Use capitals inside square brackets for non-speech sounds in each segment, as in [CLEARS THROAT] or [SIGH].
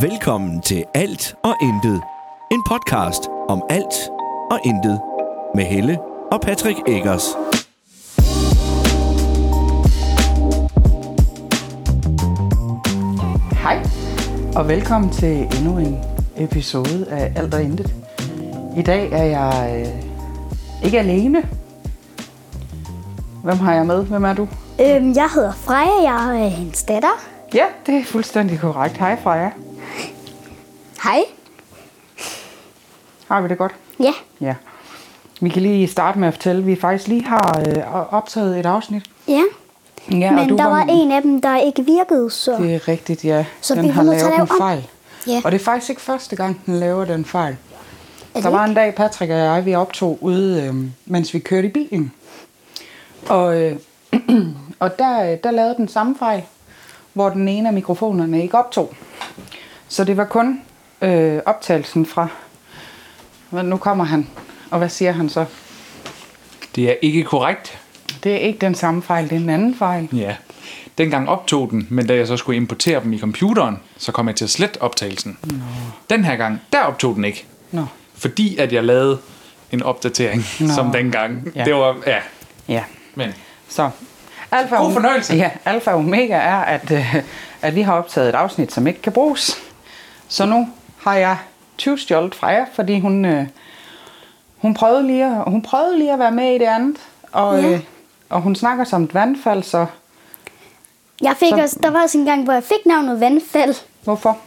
Velkommen til Alt og Intet. En podcast om alt og intet. Med Helle og Patrick Eggers. Hej, og velkommen til endnu en episode af Alt og Intet. I dag er jeg øh, ikke alene. Hvem har jeg med? Hvem er du? Øhm, jeg hedder Freja, jeg er øh, hendes datter. Ja, det er fuldstændig korrekt. Hej Freja. Hej. Har vi det godt? Ja, Ja. Vi kan lige starte med at fortælle, at vi faktisk lige har øh, optaget et afsnit. ja. Ja, Men der var en af dem, der ikke virkede, så... Det er rigtigt, ja. Så den vi har kommer til lavet at en lave om. fejl. Ja. Og det er faktisk ikke første gang, den laver den fejl. det Der var en dag, Patrick og jeg, vi optog ude, øh, mens vi kørte i bilen. Og, øh, [CLEARS THROAT] og der, øh, der lavede den samme fejl, hvor den ene af mikrofonerne ikke optog. Så det var kun øh, optagelsen fra... Men nu kommer han, og hvad siger han så? Det er ikke korrekt. Det er ikke den samme fejl, det er en anden fejl. Ja. Dengang optog den, men da jeg så skulle importere dem i computeren, så kom jeg til at slette optagelsen. No. Den her gang, der optog den ikke. Nå. Fordi at jeg lavede en opdatering, Nå. no. som dengang. Ja. Ja. Det var, ja, Ja, men Så alfa og- God fornøjelse. Ja, alfa og omega er, at, øh, at vi har optaget et afsnit, som ikke kan bruges. Så nu har jeg tyvstjålet Freja, fordi hun, øh, hun, prøvede lige at, hun prøvede lige at være med i det andet. Og, Ja. øh, og hun snakker som et vandfald, så Jeg fik Så- også, der var også en gang, hvor jeg fik navnet Vandfald, hvorfor?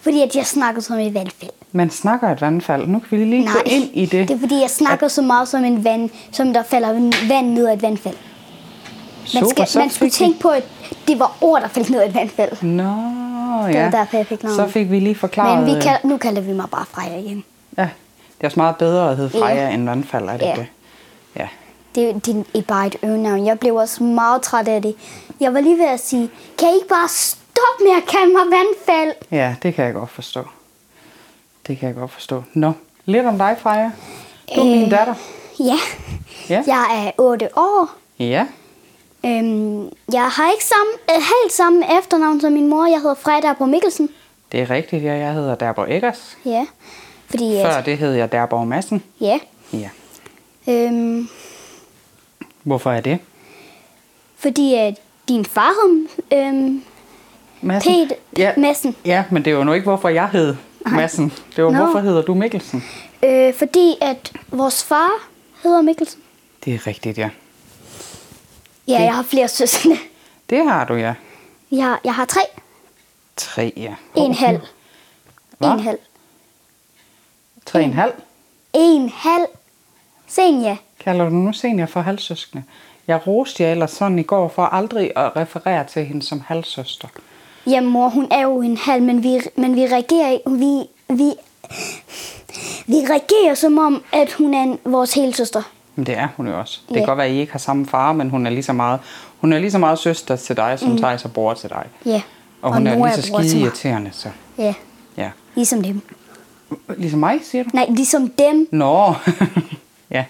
fordi at jeg snakkede som en vandfald. Man snakker et vandfald. Nu kan vi lige Nej, gå ind i det. det er fordi, jeg snakker så meget som en vand, som der falder en- vand ned af et vandfald. Man, Super, så man skulle fik vi- tænke på, at det var ord, der faldt ned af et vandfald. Nå, ja. var derfor, jeg fik navnet. Så fik vi lige Men forklaret... vi øh, kal nu kalder vi mig bare Freja igen. Ja, det er også meget bedre at hedde Freja end vandfald, er det Ja. ikke det? Ja. Det, er- det er bare et øgenavn. Jeg blev også meget træt af det. Jeg var lige ved at sige, kan I ikke bare stoppe med at kalde mig vandfald? Ja, det kan jeg godt forstå. Det kan jeg godt forstå. Nå, lidt om dig, Freja. Du er min Øh. datter. Ja. Ja. Jeg er 8 år. Ja. Øhm, jeg har ikke samme, øh, helt samme efternavn som min mor. Jeg hedder Freja på Mikkelsen. Det er rigtigt, ja. Jeg hedder Derborg Eggers. Ja. Fordi at, Før det hed jeg Derborg Madsen. ja. Ja. Øhm, Hvorfor er det? fordi at din far hed øhm, Madsen? Peter ja. Madsen. Ja, men det var nu ikke, hvorfor jeg hed Madsen. Det var, Nå. hvorfor hedder du Mikkelsen? Øh, fordi at vores far hedder Mikkelsen. Det er rigtigt, ja. Ja, jeg har flere søskende. Det har du, ja. Jeg, har- jeg har tre. Tre, ja. En halv. Hva? En halv. Tre en halv. En halv. Senja. Kalder du nu senior for halvsøskende? Jeg roste jer ellers sådan i går for aldrig at referere til hende som halvsøster. Jamen mor, hun er jo en halv, men vi, men vi reagerer ikke. Vi, vi, vi reagerer som om, at hun er en, vores hele søster. Men det er hun jo også. Det Ja. kan godt være, at I ikke har samme far, men hun er lige så meget, hun er lige så meget søster til dig, som mm. Thijs er bror til dig. Ja. Og hun og er mor lige så bror til skide mig. irriterende, så Ja, ja. ligesom dem. Ligesom mig, siger du? Nej, ligesom dem. [LAUGHS] Nå, [LAUGHS] ja.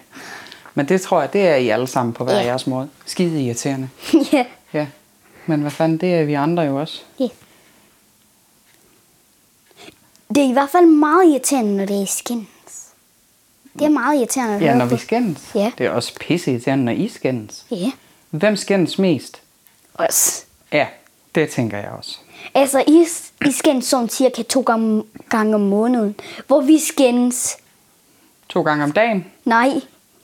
Men det tror jeg, det er I alle sammen på hver Ja. jeres måde. Skide irriterende. ja. Ja. Men hvad fanden, det er vi andre jo også. ja. Det er i hvert fald meget irriterende, når det er i skins. Det er meget irriterende at Ja, høre når vi på. skændes. Ja. Det er også pisse irriterende, når I skændes. Ja, Hvem skændes mest? også. Ja, det tænker jeg også. Altså, I, I skændes sådan cirka to gange, gange om måneden, hvor vi skændes. To gange om dagen? Nej.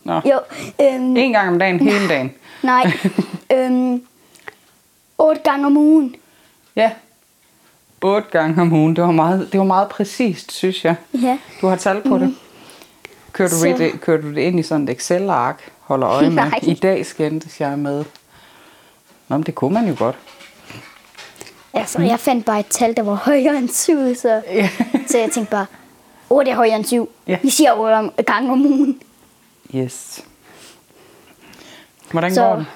Nå. Jo, øhm, En gang om dagen, hele dagen. [LAUGHS] Nej. øhm, otte gange om ugen. Ja. Otte gange om ugen. Det var meget, det var meget præcist, synes jeg. Ja. Du har tal på mm. det. Kører du, Så- i det. kører du det ind i sådan et Excel-ark? Holder øje med. Nej. I dag skændtes jeg med. Nå, men det kunne man jo godt. Altså, jeg fandt bare et tal, der var højere end syv, så, Ja. så jeg tænkte bare, otte er højere end syv. Ja. Vi siger otte om, gange om ugen. Yes. Hvordan så. går Så det?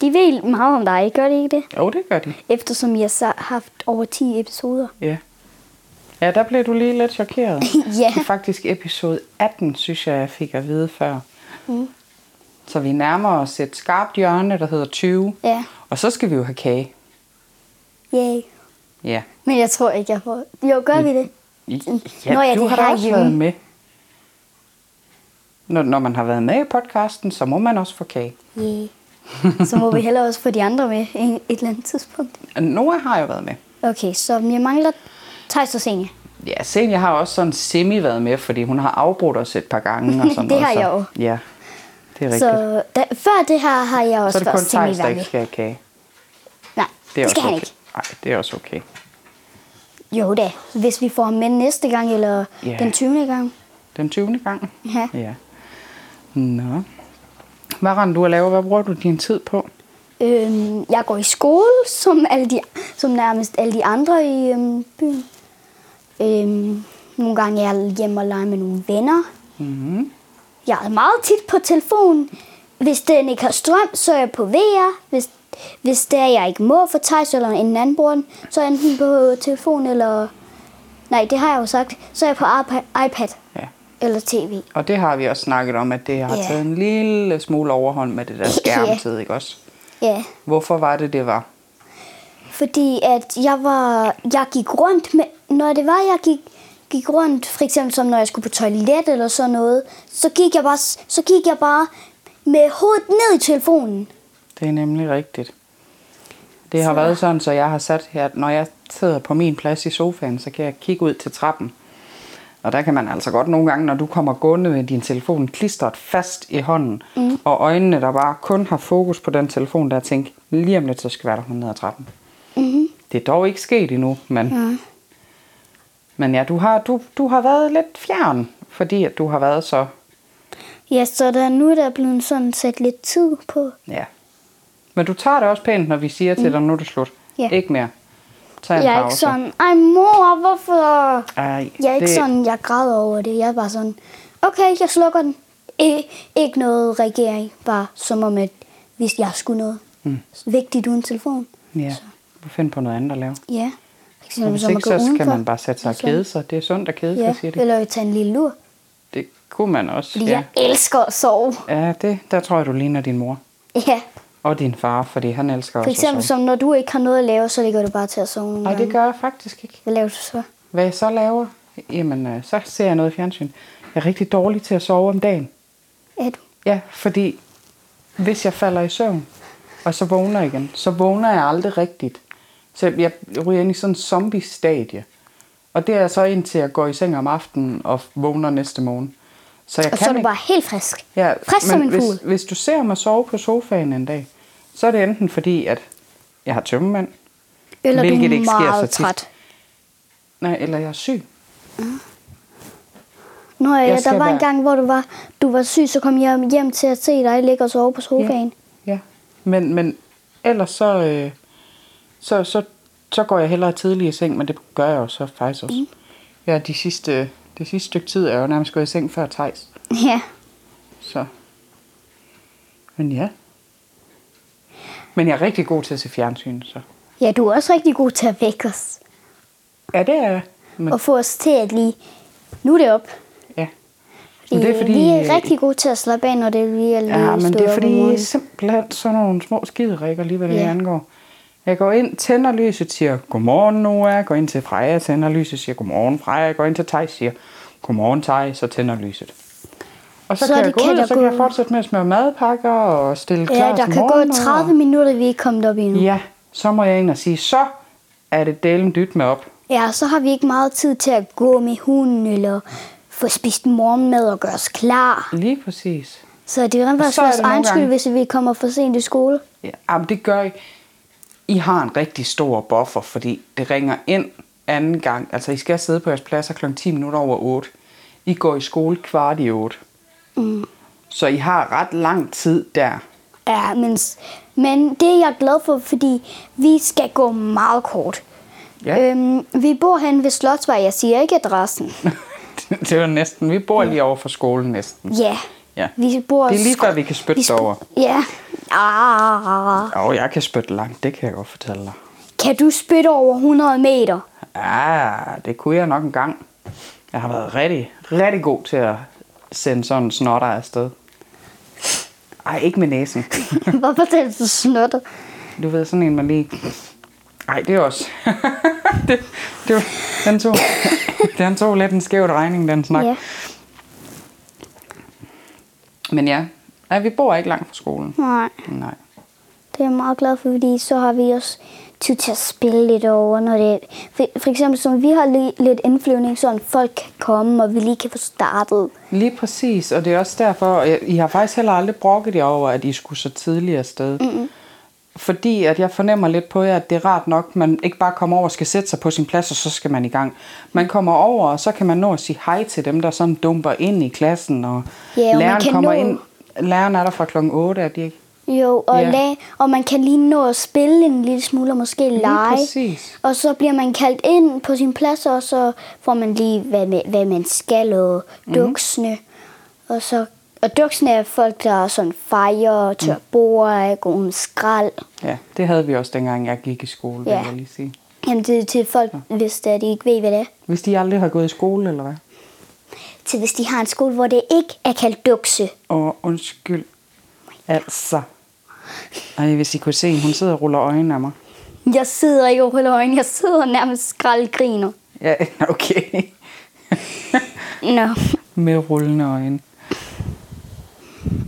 de ved meget om dig, gør de ikke det? Jo, det gør de. Eftersom jeg så har haft over 10 episoder. Ja. Ja, der blev du lige lidt chokeret. [LAUGHS] Ja. Det er faktisk episode 18, synes jeg, jeg fik at vide før. Mm. Så vi nærmer os et skarpt hjørne, der hedder 20. Ja. Og så skal vi jo have kage. Yay. Ja. Men jeg tror ikke, jeg får... Jo, gør vi det? ja Nå ja, du det har er da også hjemme. været med. Når, når man har været med i podcasten, så må man også få kage. Yeah. Så må vi hellere også få de andre med en- et eller andet tidspunkt. Noah har jo været med. Okay, så jeg mangler Thijs og Senja. Ja, Senja har også sådan semi været med, fordi hun har afbrudt os et par gange. [LAUGHS] Og sådan Det noget, har så- jeg jo. Ja, det er rigtigt. Så Så, da, før det her har jeg så også er det kun været Thijs, der semi ikke skal have kage. Nej, Det er det også skal han okay. ikke. Nej, det er også okay. Jo da, hvis vi får ham med næste gang, eller Ja. den 20. gang. Den 20. gang. Ja. ja. Nå. Hvad render du at lave? Hvad bruger du din tid på? Øhm, jeg går i skole, som, alle de, som nærmest alle de andre i øhm, byen. Øhm, nogle gange er jeg hjemme og leger med nogle venner. Mm-hmm. Jeg er meget tit på telefonen. Hvis den ikke har strøm, så er jeg på VR. Hvis, hvis det er, jeg ikke må for Thijs eller en anden bror, så er jeg enten på telefon eller... Nej, det har jeg jo sagt. Så er jeg på iPa- iPad Ja. eller tv. Og det har vi også snakket om, at det har Ja. taget en lille smule overhånd med det der skærmtid, ikke også? [LAUGHS] Ja. Hvorfor var det, det var? Fordi at jeg var, jeg gik rundt med, når det var, jeg gik, gik rundt, for eksempel som når jeg skulle på toilet eller sådan noget, så gik jeg bare, så gik jeg bare med hovedet ned i telefonen. Det er nemlig rigtigt. Det har været sådan, så jeg har sat her, at når jeg sidder på min plads i sofaen, så kan jeg kigge ud til trappen. Og der kan man altså godt nogle gange, når du kommer gående med din telefon klistret fast i hånden, mm. og øjnene, der bare kun har fokus på den telefon, der tænke, lige om lidt, så skvatter hun ned ad trappen. Mm. Det er dog ikke sket endnu, men... Mm. Men ja, du har, du, du har været lidt fjern, fordi at du har været så... Ja, så der, nu er der blevet sådan sat lidt tid på. Ja. Men du tager det også pænt, når vi siger til dig, nu er det slut. Mm. Ja. Ikke mere. Tag en Jeg er pause. ikke sådan, ej mor, hvorfor? Ej, Jeg er ikke det- sådan, jeg græder over det. Jeg er bare sådan, okay, jeg slukker den. I, ikke noget regering, bare som om, at hvis jeg skulle noget mm. vigtigt uden telefon. Ja, du finder på noget andet at lave. Ja. Ligesom For Og eksempel, hvis så man ikke, går så udenfor. skal man bare sætte sig og Sådan. kede sig. Det er sundt at kede sig, Ja, siger de. eller tage en lille lur. Det kunne man også, Fordi ja. ja. jeg elsker at sove. [LAUGHS] Ja, det, der tror jeg, du ligner din mor. Ja. Og din far, fordi han elsker For også eksempel at sove. som når du ikke har noget at lave, så ligger du bare til at sove nogle Nej, det gange. gør jeg faktisk ikke. Hvad laver du så? Hvad jeg så laver, jamen, øh, så ser jeg noget i fjernsyn. Jeg er rigtig dårlig til at sove om dagen. Er du? Ja, fordi hvis jeg falder i søvn, og så vågner jeg igen, så vågner jeg aldrig rigtigt. Så jeg ryger ind i sådan en zombie-stadie. Og det er så indtil jeg går i seng om aftenen og vågner næste morgen. Så jeg Og kan så er du ikke... bare helt frisk. Ja, frisk som en hvis, fugl. hvis du ser mig sove på sofaen en dag, så er det enten fordi, at jeg har tømmemand, Eller du hvilket ikke er sker så meget tit. træt. nej, eller jeg er syg. Nå ja, skal der var være- en gang, hvor du var, du var syg, så kom jeg hjem til at se dig ligge og sove på sofaen. Ja. Men, men ellers så, øh, så, så, så går jeg hellere tidligere i seng, men det gør jeg jo så faktisk også. Mm. Ja, de sidste, det sidste stykke tid er jeg jo nærmest gået i seng før Tejs. [LAUGHS] Ja. Så. Men ja. Men jeg er rigtig god til at se fjernsyn, så. Ja, du er også rigtig god til at vække os. Ja, det er jeg. Men, Og få os til at lige... Nu er det op. ja. Fordi, det er fordi- øh, vi er rigtig gode til at slappe af, når det lige er lige Ja, men stået det er op om morgenen. fordi simpelthen sådan nogle små skiderikker lige, hvad det Ja. yeah. angår. Jeg går ind, tænder lyset, siger, godmorgen Noah. Går ind til Freja, tænder lyset, siger, godmorgen Freja. Går ind til Thijs, siger, godmorgen Thijs, og tænder lyset. Og så, Så så kan det jeg gå kan ud, der og så kan jeg gå- fortsætte med at smøre madpakker og stille klar Ja, der til kan gå morgenmad, 30 minutter, vi er ikke kommet op endnu. Og... Ja, så må jeg ind og sige, så er det delen dyt med op. Ja, så har vi ikke meget tid til at gå med hunden, eller få spist morgenmad og gøre os klar. Lige præcis. Så det er rent Og faktisk så er vores det nogle egen skyld, gange- hvis vi kommer for sent i skole. Ja, jamen, det gør I. I har en rigtig stor buffer, fordi det ringer ind anden gang. Altså, I skal sidde på jeres pladser kl. 10 minutter over 8. I går i skole kvart i 8. Mm. Så I har ret lang tid der. [LAUGHS] Ja, men, s- men det er jeg glad for, fordi vi skal gå meget kort. Ja. Øhm, vi bor hen ved Slotsvej, jeg siger ikke adressen. det er jo næsten. Vi bor lige over for skolen næsten. Ja, Ja. vi bor... Det er lige sk- før, vi kan spytte vi sp- derover. Ja. Ah, Og jeg kan spytte langt, det kan jeg godt fortælle dig. kan du spytte over [LAUGHS] 100 meter? Ja, det kunne jeg nok en gang. Jeg har været rigtig, rigtig god til at sende sådan en snotter afsted. Ej, ikke med næsen. Hvorfor taler du snottet? Du ved, sådan en, man lige... Ej, det er også... [LAUGHS] det, det var, den, tog, den tog lidt en skævt regning, den snak. Ja. Yeah. Men ja, ja, vi bor ikke langt fra skolen. Nej, Nej. det er jeg meget glad for, fordi så har vi også tid til at spille lidt over, når det for, for eksempel, som vi har lige, lidt indflyvning, så folk kan komme, og vi lige kan få startet. Lige præcis, og det er også derfor, og jeg- I har faktisk heller aldrig brokket jer over, at I skulle så tidligere afsted. Mm-hmm. Fordi at jeg fornemmer lidt på jer, at det er rart nok, man ikke bare kommer over og skal sætte sig på sin plads, og så skal man i gang. Man kommer over, og så kan man nå at sige hej til dem, der sådan dumper ind i klassen, og Ja, og man læreren kan kommer nå- ind. Læreren er der fra klokken 8, er de ikke? Jo, og, Ja. yeah. lag, og man kan lige nå at spille en lille smule, og måske lege. præcis. Og så bliver man kaldt ind på sin plads, og så får man lige, hvad, ma- hvad man skal, og duksene. Og, så, og duksene er folk, der sådan fejrer, tør mm. bord, går med skrald. Ja, det havde vi også dengang, jeg gik i skole, yeah. Ja. vil jeg lige sige. Jamen, det er til folk, hvis det er, de ikke ved, hvad det er. Hvis de aldrig har gået i skole, eller hvad? Til hvis de har en skole, hvor det ikke er kaldt dukse. Åh, undskyld. Altså. Ej, hvis I kunne se, hun sidder og ruller øjnene af mig. Jeg sidder ikke og ruller øjnene, jeg sidder nærmest skraldgriner. Ja, [LAUGHS] okay. Nå, Med rullende øjne.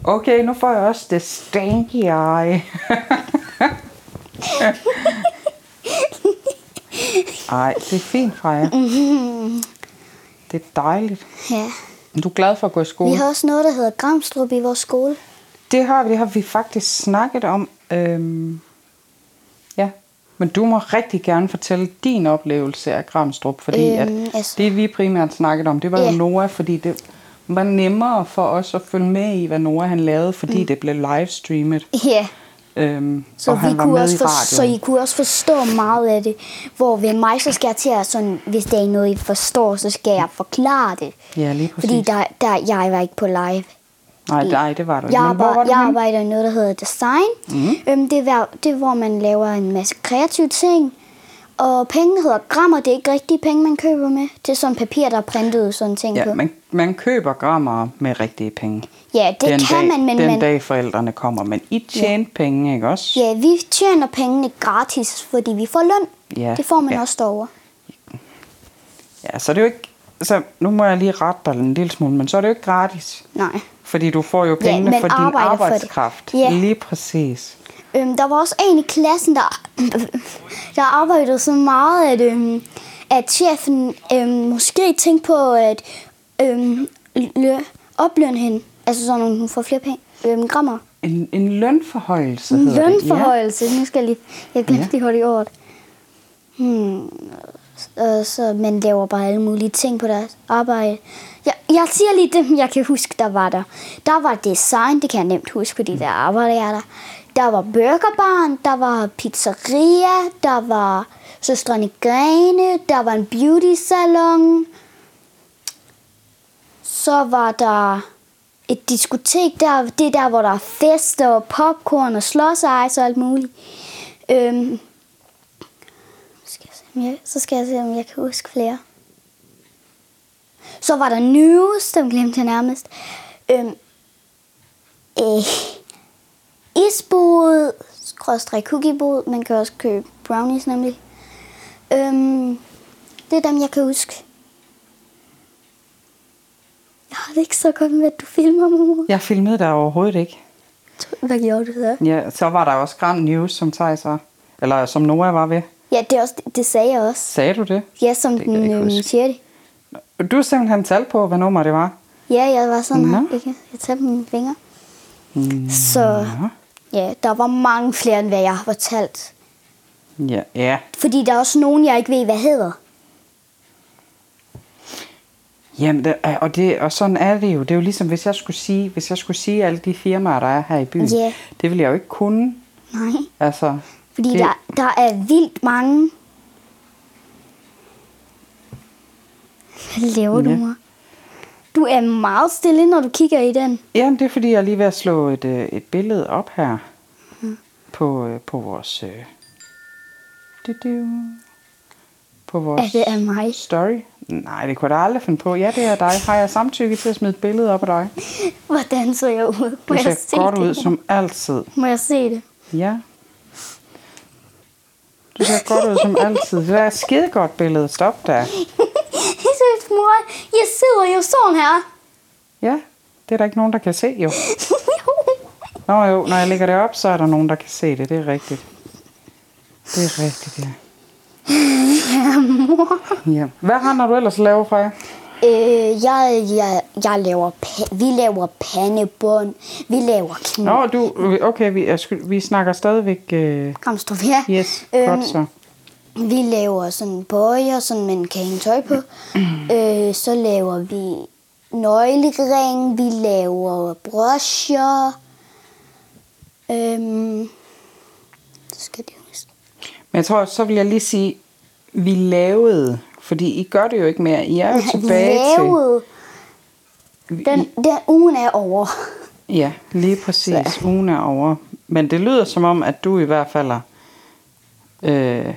Okay, nu får jeg også det stanky [LAUGHS] eye. Ej, det er fint, Freja. Mhm. Det er dejligt. ja. Du er glad for at gå i skole? Vi har også noget, der hedder Gramstrup i vores skole. Det har vi, det har vi faktisk snakket om. Øhm, ja, men du må rigtig gerne fortælle din oplevelse af Gramstrup, fordi øhm, Øhm, at altså. altså- det vi primært snakkede om, det var jo Ja. Noah, fordi det var nemmere for os at følge med i, hvad Noah han lavede, fordi mm. det blev livestreamet, Ja. øhm, Så, og han vi var kunne med også i radioen. for, så I kunne også forstå meget af det. Hvor ved mig, så skal jeg til at, sådan, hvis der er noget, I forstår, så skal jeg forklare det. Ja, lige præcis. Fordi der, der, jeg var ikke på live. Nej, nej, det var du ikke. Jeg, Men hvor var arbejder, du jeg henne? Mhm. arbejder i noget, der hedder design. Mm. Øhm, det, er, hver- det er, hvor man laver en masse kreative ting. Og pengene hedder grammer. Det er ikke rigtige penge, man køber med. Det er sådan papir, der er printet sådan ting på. Ja, man, man køber grammer med rigtige penge. ja, det den kan dag, man, men Den man, dag forældrene kommer, men I tjente ja. penge, ikke også? ja, vi tjener pengene gratis, fordi vi får løn. Ja, det får man ja. også derovre. Ja, så det er jo ikke... Så nu må jeg lige rette dig en lille smule, men så er det jo ikke gratis. Nej. Fordi du får jo pengene man for din arbejder for det. arbejdskraft. Ja. Lige præcis. Øhm, der var også en i klassen, der, [CLEARS THROAT] der arbejdede så meget, at, øhm, at chefen øhm, måske tænkte på at øhm, lø- oplønne hende. Altså sådan, at hun får flere penge. Øhm, grammer. En, en lønforhøjelse En hedder det. lønforhøjelse. Nu skal jeg lige... Jeg glemte Ja. ja. lige hurtigt ordet. Hmm. Øh, så man laver bare alle mulige ting på deres arbejde. Jeg, jeg siger lige dem, jeg kan huske, der var der. Der var design, det kan jeg nemt huske, Mm. fordi der arbejder jeg der. Der var burgerbaren, der var pizzeria, der var søstrene Grene, der var en beauty salon. Så var der et diskotek der, det er der, hvor der er fester og popcorn og slåsejs og alt muligt. Øhm, skal jeg se, om jeg, så skal jeg se, om jeg kan huske flere. Så var der news, dem glemte jeg nærmest. Øhm, øh, eh, isbod, skråstrej cookiebod, man kan også købe brownies nemlig. Øhm, det er dem, jeg kan huske. Jeg har det ikke så godt med, at du filmer, mor. Jeg filmede dig overhovedet ikke. Hvad gjorde du så? Ja, så var der også Grand News, som Thijs var. Eller som Noah var ved. Ja, det, er også, det sagde jeg også. Sagde du det? Ja, som kan jeg den ikke øhm, huske. siger det. Du har simpelthen tal på, hvad nummer det var. Ja, jeg var sådan Nå. her. Jeg, kan- jeg tager mine fingre. Så ja, der var mange flere, end hvad jeg har fortalt. Ja, ja. Fordi der er også nogen, jeg ikke ved, hvad hedder. Jamen, det, er- og, det, og sådan er det jo. Det er jo ligesom, hvis jeg skulle sige, hvis jeg skulle sige alle de firmaer, der er her i byen. Ja. Det ville jeg jo ikke kunne. Nej. Altså, Fordi det, der, der er vildt mange. Hvad laver du, Ja. mor? Du er meget stille, når du kigger i den. Jamen, det er fordi, jeg er lige ved at slå et, øh, et billede op her Mhm. på, øh, på vores... Øh, du-du, på vores Ja, det er mig. story. Nej, det kunne jeg da aldrig finde på. Ja, det er dig. Har jeg samtykke til at smide et bede op af dig? Hvordan ser jeg ud? Må Du jeg ser se godt det? [LAUGHS] ud, som altid. Må jeg se det? Ja. Du ser godt ud som altid. Det er et skidegodt billede. Stop der. Seriøst, mor, jeg sidder jo sådan her. [LAUGHS] Ja, det er der ikke nogen, der kan se jo. Jo. Nå jo, når jeg lægger det op, så er der nogen, der kan se det. Det er rigtigt. Det er rigtigt, [LAUGHS] ja. Ja. Hvad render du ellers laver, Freja? Øh, jeg, jeg, jeg laver pa- vi laver pandebånd, vi laver kniv. Nå, du, okay, vi, er, skyld- vi snakker stadigvæk... Øh, Kom, stå her. yes, øhm. godt så. Vi laver sådan bøjer, sådan man kan hænge [CLEARS THROAT] tøj på. øh, så laver vi nøglering, vi laver brosjer. Øhm, så skal det huske. Men jeg tror, så vil jeg lige sige, vi lavede, fordi I gør det jo ikke mere. I er [LAUGHS] jo tilbage til... Lavet. Den, den ugen er over. Ja, lige præcis. Så. Ugen er over. Men det lyder som om, at du i hvert fald er, øh,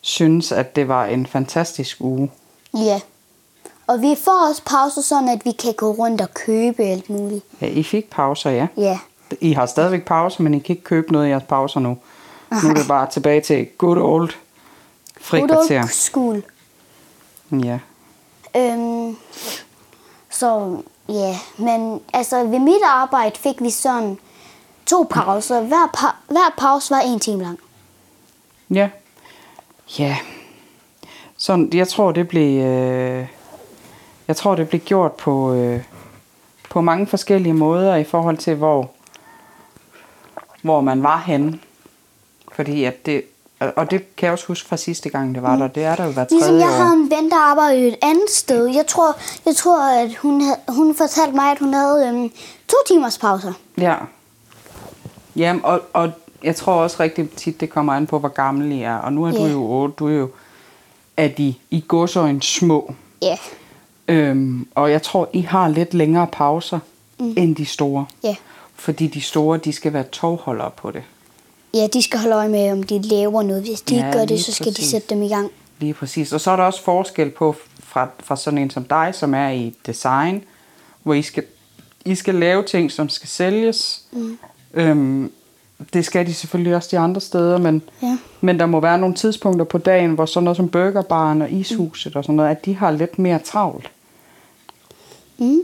synes, at det var en fantastisk uge. Ja. Og vi får også pause, sådan at vi kan gå rundt og købe alt muligt. Ja, Øh, I fik pauser, ja. Ja. I har stadigvæk pauser, men I kan ikke købe noget i jeres pauser nu. Nu er det bare tilbage til good old Good old frikvarter. School. Mm, Ja. Øhm, så ja, men altså ved mit arbejde fik vi sådan to pauser. Hver, pa- hver pause var en time lang. Ja. Ja. Sådan, jeg tror, det blev... Øh, jeg tror, det blev gjort på, øh, på mange forskellige måder i forhold til, hvor, hvor man var henne. Fordi at det... og- Og det kan jeg også huske fra sidste gang, det var der. Det er der jo hver tredje Ligesom jeg år. havde en ven, der arbejdede et andet sted. Jeg tror, jeg tror at hun, havde, hun fortalte mig, at hun havde øhm, to timers pauser. Ja. Jamen, og, og jeg tror også rigtig tit, det kommer an på, hvor gammel I er. Og nu er du Ja. jo otte, du er jo af de i godsøjne små. Ja, Øhm, og jeg tror, I har lidt længere pauser mm. end de store. Ja. Fordi de store, de skal være tovholdere på det. ja de skal holde øje med, om de laver noget. Hvis de Ja, ja, ikke gør det, lige så skal præcis. præcis. de sætte dem i gang. Lige præcis. Og så er der også forskel på fra, fra sådan en som dig, som er i design, hvor I skal, I skal lave ting, som skal sælges. Mm. Øhm, det skal de selvfølgelig også de andre steder, men, Ja. men der må være nogle tidspunkter på dagen, hvor sådan noget som burgerbaren og ishuset og sådan noget, at de har lidt mere travlt. Mm.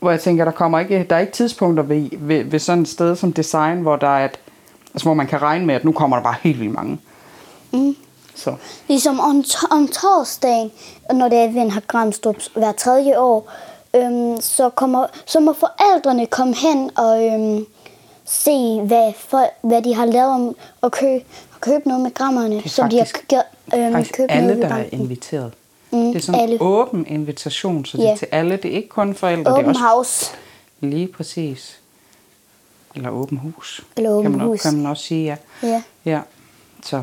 hvor jeg tænker, der kommer ikke, der er ikke tidspunkter ved, ved, ved sådan et sted som design, hvor der er et, altså hvor man kan regne med, at nu kommer der bare helt vildt mange. Mm. Så Ligesom om, to- om torsdagen, når det er advent har Gramstrup hver tredje år, øhm, så, kommer, så må forældrene komme hen og øhm, se, hvad, for, hvad de har lavet om at købe, at købe noget med grammerne, er som de har faktisk- gjort, øhm, faktisk købt noget alle, ved der er banken. inviteret. Mm, det er sådan en alle. åben invitation, så det er Ja. til alle. Det er ikke kun forældre, det er Open også house. lige præcis. Eller åben hus. Eller kan åben man, hus. Kan man også sige, ja. Ja. Ja, så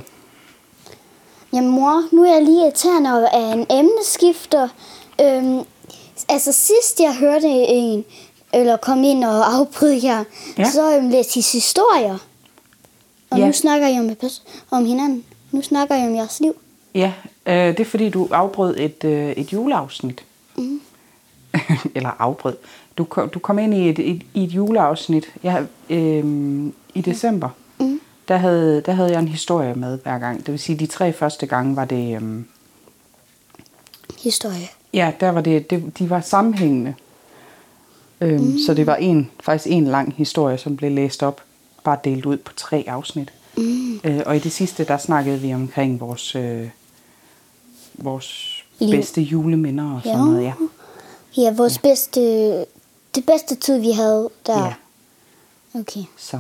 Jamen mor, nu er jeg lige irriterende af en emneskifter. Øhm, altså sidst jeg hørte en, eller kom ind og afbrød jer, Ja. ja. så øhm, læste I historier. Og Ja. ja. nu snakker I om, om hinanden. Nu snakker I om jeres liv. Ja, øh, det er fordi, du afbrød et, øh, et juleafsnit. Mm. [LAUGHS] Eller afbrød. Du kom, du kom ind i et, et, i et juleafsnit jeg, øh, i december. Mm. Der, havde, der havde jeg en historie med hver gang. Det vil sige, de tre første gange var det... Øh, Historie. ja, der var det, det de var sammenhængende. Øhm, mm. Så det var en, faktisk en lang historie, som blev læst op, bare delt ud på tre afsnit. Mm. Øh, og i det sidste, der snakkede vi omkring vores, øh, vores Liv. bedste juleminder og sådan Ja. noget. Ja. Ja, vores ja. bedste... Det bedste tid, vi havde der. Ja. Okay, Så.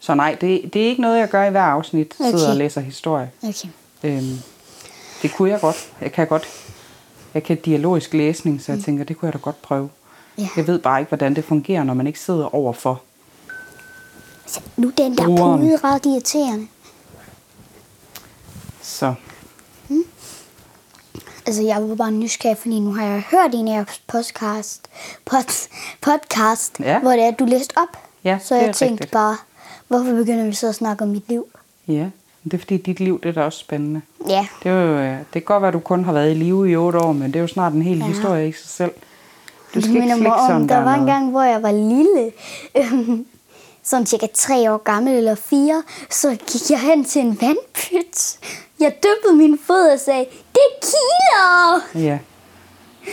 så nej, det, det er ikke noget, jeg gør i hver afsnit, okay. sidder Okay. og læser historie. okay. Øhm, det kunne jeg godt. Jeg kan godt. Jeg kan dialogisk læsning, så jeg tænker, det kunne jeg da godt prøve. Ja. Jeg ved bare ikke, hvordan det fungerer, når man ikke sidder overfor. Så nu den der Brugeren. pude er ret irriterende. Så Altså, jeg var bare nysgerrig, fordi nu har jeg hørt en af jeres podcast, pod, podcast Ja. ja. hvor det er, du læste op. Ja, så det jeg er tænkte rigtigt. bare, hvorfor begynder vi så at snakke om mit liv? ja, men det er fordi dit liv, det er da også spændende. Ja, Det, er jo, øh, det kan godt være, at du kun har været i live i otte år, men det er jo snart en hel ja. Ja. historie i sig selv. Du det skal ikke minder mig slikke om, sådan der var en dernede. gang, hvor jeg var lille. Øhm, [LAUGHS] sådan cirka tre år gammel eller fire, så gik jeg hen til en vandpyt. Jeg dyppede min fod og sagde, det kilder! Ja.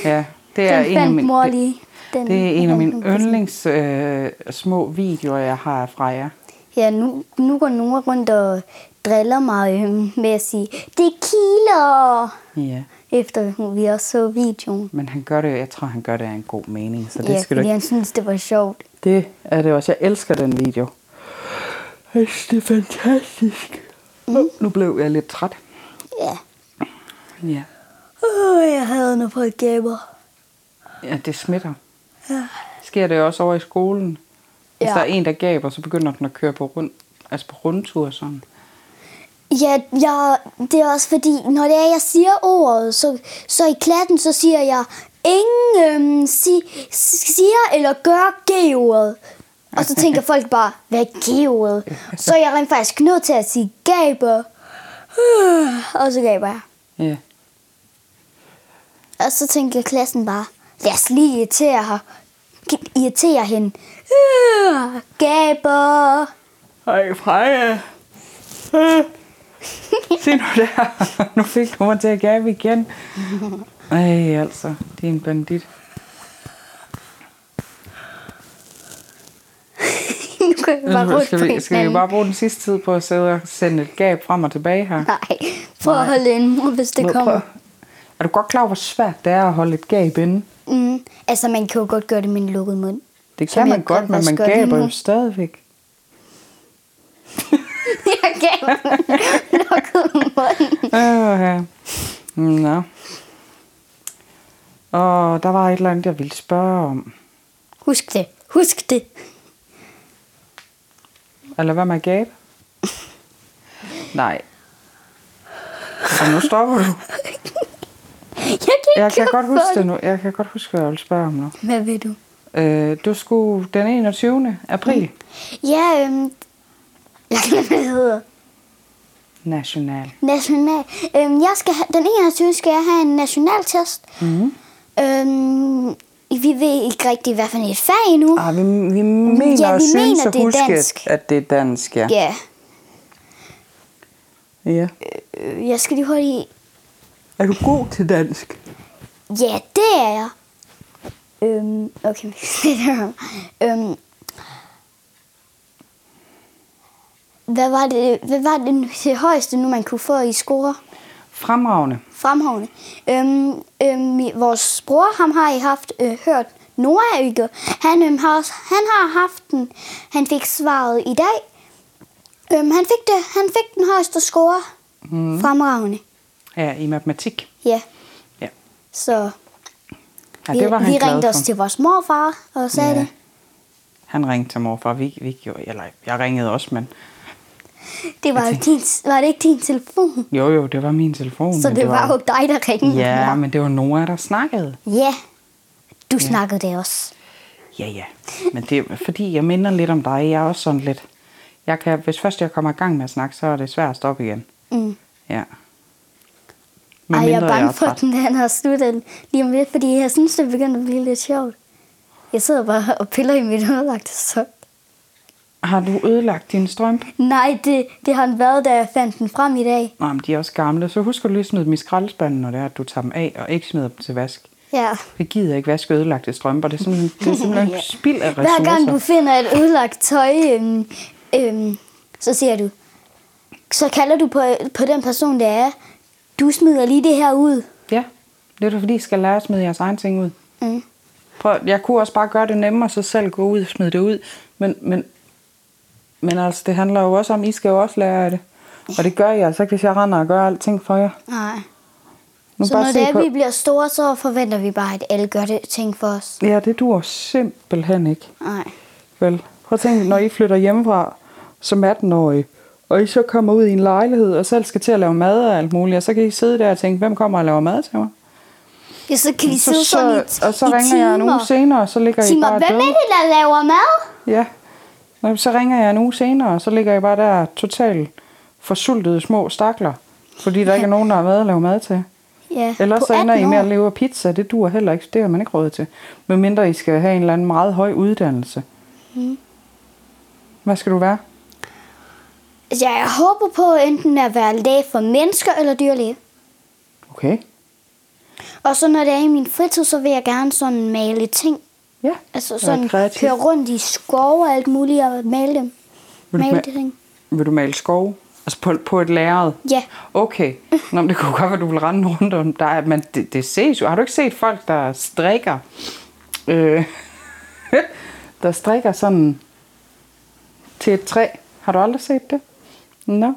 Ja, det er Den en af fandt mine, mor det, lige. Den det er en af fandt mine hun på sin- yndlings øh, små videoer, jeg har fra jer. Ja, nu, nu går nogen rundt og driller mig øh, med at sige, det kilder! Ja. Efter hun- vi også så videoen. Men han gør det, jeg tror, han gør det af en god mening, så det Ja, skal du fordi ikke han synes, det var sjovt. Det er det også. Jeg elsker den video. Ej, det er fantastisk. Mm. Nu blev jeg lidt træt. Ja. Ja. Åh, oh, jeg havde noget på et gaber. Ja, det smitter. Sker det også over i skolen? Hvis Ja. der er en, der gaber, så begynder den at køre på, rund, altså på rundtur sådan. Ja, jeg, det er også fordi, når det er, jeg siger ordet, så, så i klassen, så siger jeg, ingen øhm, si, si- siger eller gør G-ordet. Og så [LAUGHS] tænker folk bare, hvad er G-ordet? Så er jeg rent faktisk nødt til at sige gaber. Og så gaber jeg. Ja. Og så tænker klassen bare, lad os lige irritere, her. irritere hende. Øh, Gaber. [LAUGHS] Hej, Freja. Øh. Se nu der. [LAUGHS] Nu fik du mig til at gabe igen. Ej, altså. Det er en bandit. nu kan vi bare rundt Skal på vi, skal vi hinanden. bare bruge den sidste tid på at sidde og sende et gab frem og tilbage her? Nej, prøv at holde en mur, hvis det Prøv- kommer. prøv. Er du godt klar over, hvor svært det er at holde et gab inde? Mm, altså, man kan jo godt gøre det med en lukket mund. [LAUGHS] Det kan Som man jeg godt, godt men også man gør lige gaber nu. jo stadigvæk. Jeg gav [LAUGHS] en lukket mund. Okay. Øh, Nå. Og der var et eller andet, jeg ville spørge om. Husk det. Husk det. Eller hvad med at gabe? Nej. Og nu stopper du. Jeg kan ikke Jeg kan lukke godt huske for det nu. Jeg kan godt huske, hvad jeg ville spørge om nu. Hvad ved du? Øh, du skulle den 21. april. Ja, øhm, [LAUGHS] jeg kan hvad det hedder. National. National. Øhm, jeg skal have, den 21. skal jeg have en nationaltest. Mm. Øhm, vi ved ikke rigtig, hvad for et fag endnu. Ah, vi, vi mener Ja, ja, vi og synes mener, at det er huske, dansk. at det er dansk, ja. Ja. ja. Øh, jeg skal lige hurtigt... Er du god til dansk? Ja, det er jeg. Øhm, okay. [LAUGHS] øhm, hvad var det, hvad var det, det højeste nu, man kunne få i score? Fremragende. Fremhavne. Øhm, øhm, vores bror, ham har I haft øh, hørt, Noah ikke? Han, øhm, har også, han har haft den. Han fik svaret i dag. Øhm, han, fik det, han fik den højeste score. Mhm. Mm. Fremragende. Ja, i matematik. Ja, Ja, så ja det var vi, han vi glad ringede for. os til vores morfar og sagde Ja. ja. det. Han ringte til morfar. Vi, vi gjorde, eller jeg ringede også, men Det var, jo din, var det ikke din telefon? jo jo, det var min telefon. Så men det var jo dig, der ringede. Ja, men det var Nora, der snakkede. ja. Du snakkede det også. Ja, ja. Men det er fordi, jeg minder lidt om dig. Jeg er også sådan lidt... Jeg kan, hvis først jeg kommer i gang med at snakke, så er det svært at stoppe igen. Mm. Ja. Ej, jeg er bange for, træt. at den her har sluttet lige om lidt, fordi jeg synes, det begynder at blive lidt sjovt. Jeg sidder bare og piller i mit ødelagte sok. Har du ødelagt din strømpe? Nej, det, det har den været, da jeg fandt den frem i dag. Nå, men de er også gamle. Så husk at lige smide dem i skraldespanden, når det er, at du tager dem af, og ikke smider dem til vask. Ja. Vi gider ikke vaske ødelagte strømper. Det er simpelthen, [LAUGHS] det er simpelthen Ja. spild af ressourcer. Hver gang du finder et ødelagt tøj, øhm, øhm, så siger du, så kalder du på, på den person, der er, du smider lige det her ud. Ja, det er da fordi, I skal lære at smide jeres egen ting ud. Mm. Prøv, jeg kunne også bare gøre det nemmere, så selv gå ud og smide det ud. Men, men, men altså, det handler jo også om, I skal jo også lære af det. Og det gør jeg altså ikke, hvis jeg render og gør alting for jer. Nej. Nu Så når det er, vi bliver store, så forventer vi bare, at alle gør det ting for os. Ja, det dur simpelthen ikke. Nej. Vel, prøv at tænke, når I flytter hjemmefra som 18-årige, og I så kommer ud i en lejlighed, og selv skal til at lave mad og alt muligt, og så kan I sidde der og tænke, hvem kommer og laver mad til mig? Ja, så kan vi sidde sådan i, og så i ringer timer. jeg en uge senere, og så ligger I Timer, bare hvem døde. er det, der laver mad? Ja. Nå, Så ringer jeg en uge senere, og så ligger jeg bare der totalt forsultede små stakler. Fordi der ikke er nogen, der har været at lave mad til. Ja, Ellers på så ender I 18 med år. at leve af pizza. Det duer heller ikke. Det har man ikke råd til. Medmindre I skal have en eller anden meget høj uddannelse. Mm. Hvad skal du være? Altså, jeg håber på enten at være læge for mennesker eller dyrlæge. Okay. Og så når det er i min fritid, så vil jeg gerne sådan male ting. Ja. Altså Være sådan kreativ. køre rundt i skove og alt muligt og male dem. Vil du Male ma- de ting. Vil du male skov? Altså på, på et lærred? Ja. Okay. Nå, men det kunne godt være, du ville rende rundt om dig. Men det, det ses jo. Har du ikke set folk, der strikker? Øh, [LAUGHS] der strikker sådan til et træ. Har du aldrig set det? Nå.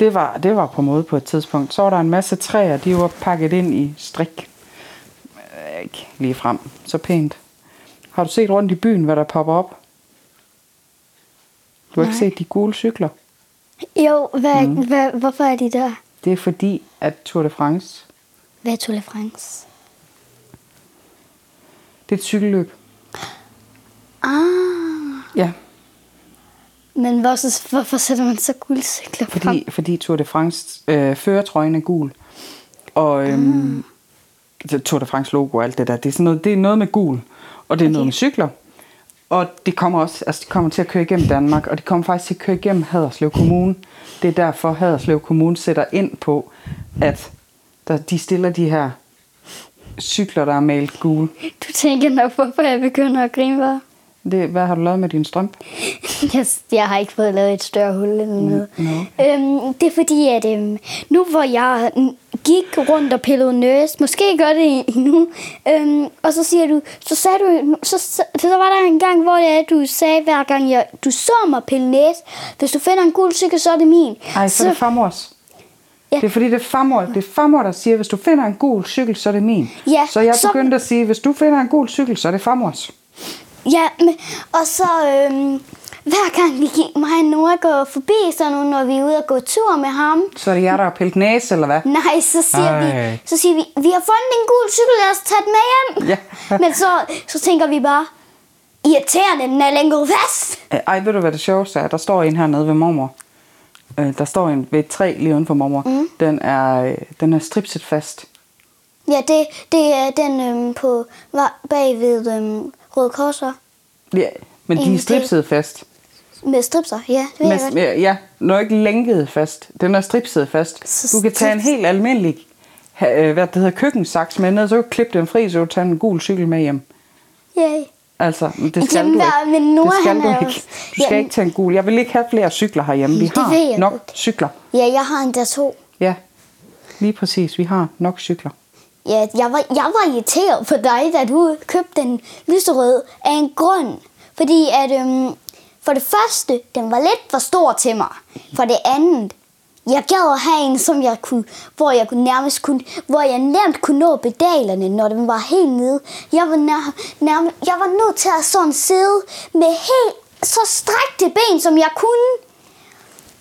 Det var, det var på måde på et tidspunkt. Så var der en masse træer, de var pakket ind i strik. Øh, Ikke lige frem. Så pænt. Har du set rundt i byen, hvad der popper op? Du har ikke set de gule cykler? Jo, hvad, Mhm. mm. hvad, hvorfor er de der? Det er fordi, at Tour de France, Hvad er Tour de France? det er et cykelløb. Ah, Ja, men hvorfor, hvorfor sætter man så guldcykler frem? fordi, fordi Tour de France øh, førertrøjen er gul. Og øhm, ah. Tour de France logo og alt det der, det er, sådan noget, det er noget med gul. Og det er okay. noget med cykler. Og det kommer også, altså de kommer til at køre igennem Danmark, og de kommer faktisk til at køre igennem Haderslev Kommune. Det er derfor Haderslev Kommune sætter ind på, at der, de stiller de her cykler, der er malet gule. Du tænker nok, hvorfor jeg begynder at grine, var. Det, hvad har du lavet med din strømpe? [LAUGHS] Jeg, jeg har ikke fået lavet et større hul eller noget. Mm, no. øhm, det er fordi, at øhm, nu hvor jeg mm, gik rundt og pillede nøs, måske gør det endnu, øhm, og så siger du, så sagde du, så, så, så var der en gang, hvor det er, du sagde hver gang, jeg, du så mig pille næs, hvis du finder en gul cykel, så er det min. Ej, så er det farmors. Ja. Ja. Det er fordi, det er farmor, det er farmor, der siger, hvis du finder en gul cykel, så er det min. Ja, så jeg så- begyndte at sige, hvis du finder en gul cykel, så er det farmors. Ja, men, og så øhm, hver gang vi gik, mig og Nora går forbi, så nu når vi er ude og gå tur med ham, Så er det jer, der har pillet næse, eller hvad? Nej, så siger, Ej. vi, så siger vi, vi har fundet en gul cykel, lad os tage den med hjem. Ja. [LAUGHS] Men så, så tænker vi bare, irriterende, den er længe fast. Ej, ved du hvad det sjoveste er? Der står en hernede ved mormor. Øh, Der står en ved et træ lige uden for mormor. Mm. Den, er, øh, den er stripset fast. Ja, det, det er den øhm, på, var bag ved øhm, Røde Korser Ja, men de Ingen er det. stripset fast. med stripser. Ja, det ved jeg godt. Men, ja, ja, den er ikke lænket fast. Den er stripset fast. Så Du kan tage en strips- helt almindelig ha- øh, hvad det hedder, køkkensaks med ned, så kan du klippe den fri, så kan du tage en gul cykel med hjem. Yay. Altså, men det skal Jamen, du hvad- ikke. men Nora, det skal han du er jo- ikke. Du skal Jamen- ikke tage en gul. Jeg vil ikke have flere cykler herhjemme. Vi Det har ved jeg nok godt. cykler. Ja, jeg har endda to. Ja, lige præcis. Vi har nok cykler. Ja, jeg var, jeg var irriteret på dig, da du købte den lyserød af en grund. Fordi at, øhm, for det første, den var lidt for stor til mig. For det andet, jeg gad at have en, som jeg kunne, hvor jeg kunne nærmest kunne, hvor jeg nemt kunne nå pedalerne, når den var helt nede. Jeg var, nær, nærmest, jeg var nødt til at sådan sidde med helt så strakte ben, som jeg kunne.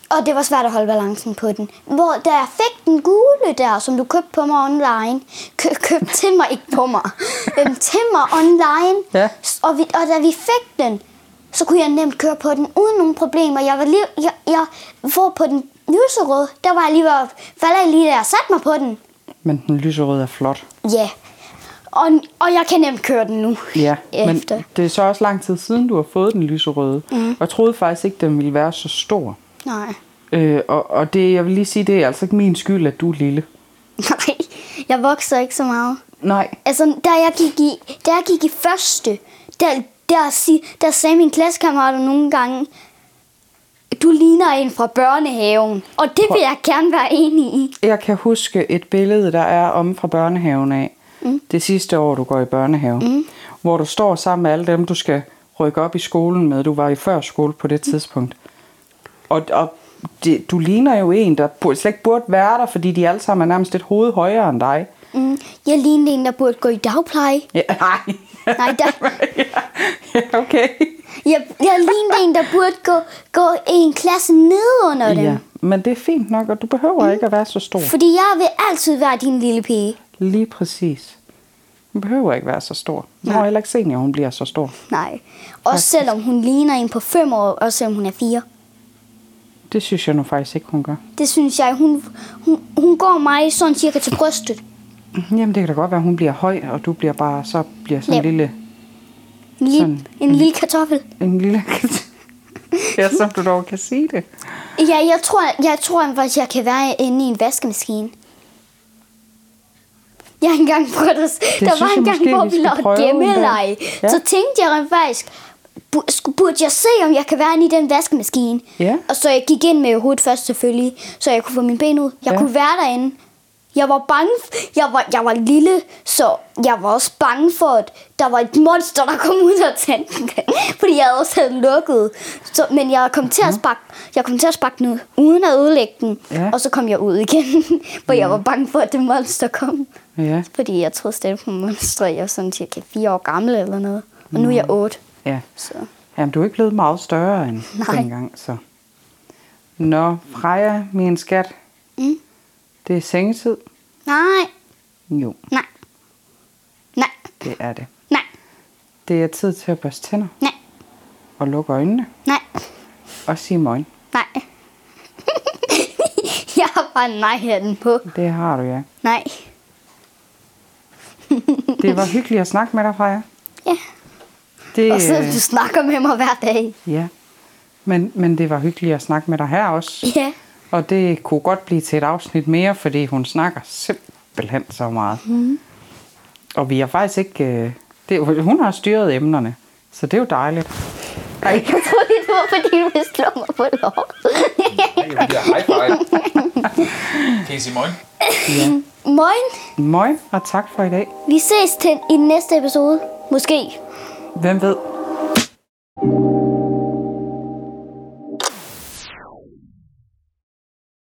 Og det var svært at holde balancen på den. Hvor da jeg fik den gule der, som du købte på mig online, kø- købte til mig, ikke på [LAUGHS] mig, øhm, til mig online, Ja. s- og, vi, og da vi fik den, så kunne jeg nemt køre på den uden nogen problemer. Jeg var lige, jeg, jeg, hvor på den lyserøde, der var jeg lige ved at falde af lige der og satte mig på den. Men den lyserøde er flot. Ja, og, og jeg kan nemt køre den nu. Ja, efter. men det er så også lang tid siden, du har fået den lyserøde. Mm. Og jeg troede faktisk ikke, den ville være så stor. Nej. [LAUGHS] Øh, og, og det, jeg vil lige sige, det er altså ikke min skyld, at du er lille. Nej, jeg vokser ikke så meget. Nej, Altså, da jeg gik i, da jeg gik i første, der, der, si- der sagde mine klassekammerater nogle gange, du ligner en fra børnehaven. Og det vil jeg gerne være enig i. jeg kan huske et billede, der er om fra børnehaven af. Mm. Det sidste år, du går i børnehave. Mm. Hvor du står sammen med alle dem, du skal rykke op i skolen med. Du var i førskole på det tidspunkt. Og, og det, du ligner jo en, der bur- slet ikke burde være der, fordi de alle sammen er nærmest et hoved højere end dig. Mm, jeg lignede en, der burde gå i dagpleje. Ja, [LAUGHS] nej. Nej, der, [LAUGHS] ja, okay. jeg, jeg lignede en, der burde gå, gå i en klasse nedenunder dem. Ja, men det er fint nok, og du behøver mm. ikke at være så stor. Fordi jeg vil altid være din lille pige. Lige præcis. Hun behøver ikke være så stor. Hun har heller ikke senior, hun bliver så stor. Nej. Også selvom hun ligner en på fem år, og selvom hun er fire. Det synes jeg nu faktisk ikke, hun gør. Det synes jeg, hun, hun, hun går mig sådan cirka til brystet. Jamen, det kan da godt være, at hun bliver høj, og du bliver bare, så bliver sådan en Ja. lille, En lille, Sådan. en lille kartoffel. en lille... kat. [LAUGHS] Ja, som du dog kan sige det. Ja, jeg tror, jeg tror faktisk, jeg kan være inde i en vaskemaskine. Jeg har engang prøvet at... der synes var jeg en gang, måske, hvor vi vi skal lavede prøve en dag. gemmeleje. Ja. Ja. Så tænkte jeg rent faktisk, bu- sku- burde jeg se, om jeg kan være inde i den vaskemaskine? Ja. Og så jeg gik ind med hovedet først selvfølgelig, så jeg kunne få mine ben ud. Jeg Ja. kunne være derinde. Jeg var bange. f- Jeg var, jeg var lille, så jeg var også bange for, at der var et monster, der kom ud og tændte den. [LAUGHS] Fordi jeg også havde den lukket. Så, men jeg kom til at sparke, jeg kom til at sparke den ud, uden at ødelægge den. Ja. Og så kom jeg ud igen, [LAUGHS] for jeg var bange for, at det monster kom. Ja, Fordi jeg troede stadig på monstre. Jeg var sådan cirka fire år gammel eller noget. Og nu er jeg otte. ja. Så. Jamen, du er ikke blevet meget større end Nej. dengang, så... Nå, Freja, min skat. Mm. Det er sengetid. Nej, Jo, nej, nej, det er det. nej, Det er tid til at børste tænder nej, og lukke øjnene nej, og sige morgen. nej. [LAUGHS] jeg har bare en nej-hatten på. Det har du, ja. Nej. Det var hyggeligt at snakke med dig, Freja. Ja. Det, Og så øh, du snakker med mig hver dag. Ja, men, men det var hyggeligt at snakke med dig her også. Ja. Og det kunne godt blive til et afsnit mere, fordi hun snakker simpelthen så meget. Mm. Og vi har faktisk ikke... øh, Det, hun har styret emnerne, så det er jo dejligt. [LAUGHS] Jeg troede, det var fordi, du ville slå mig på lov. Det er high [LAUGHS] five. Kan I sige morgen? Moin. Møj, og tak for i dag. Vi ses til i den næste episode. Måske. Hvem ved?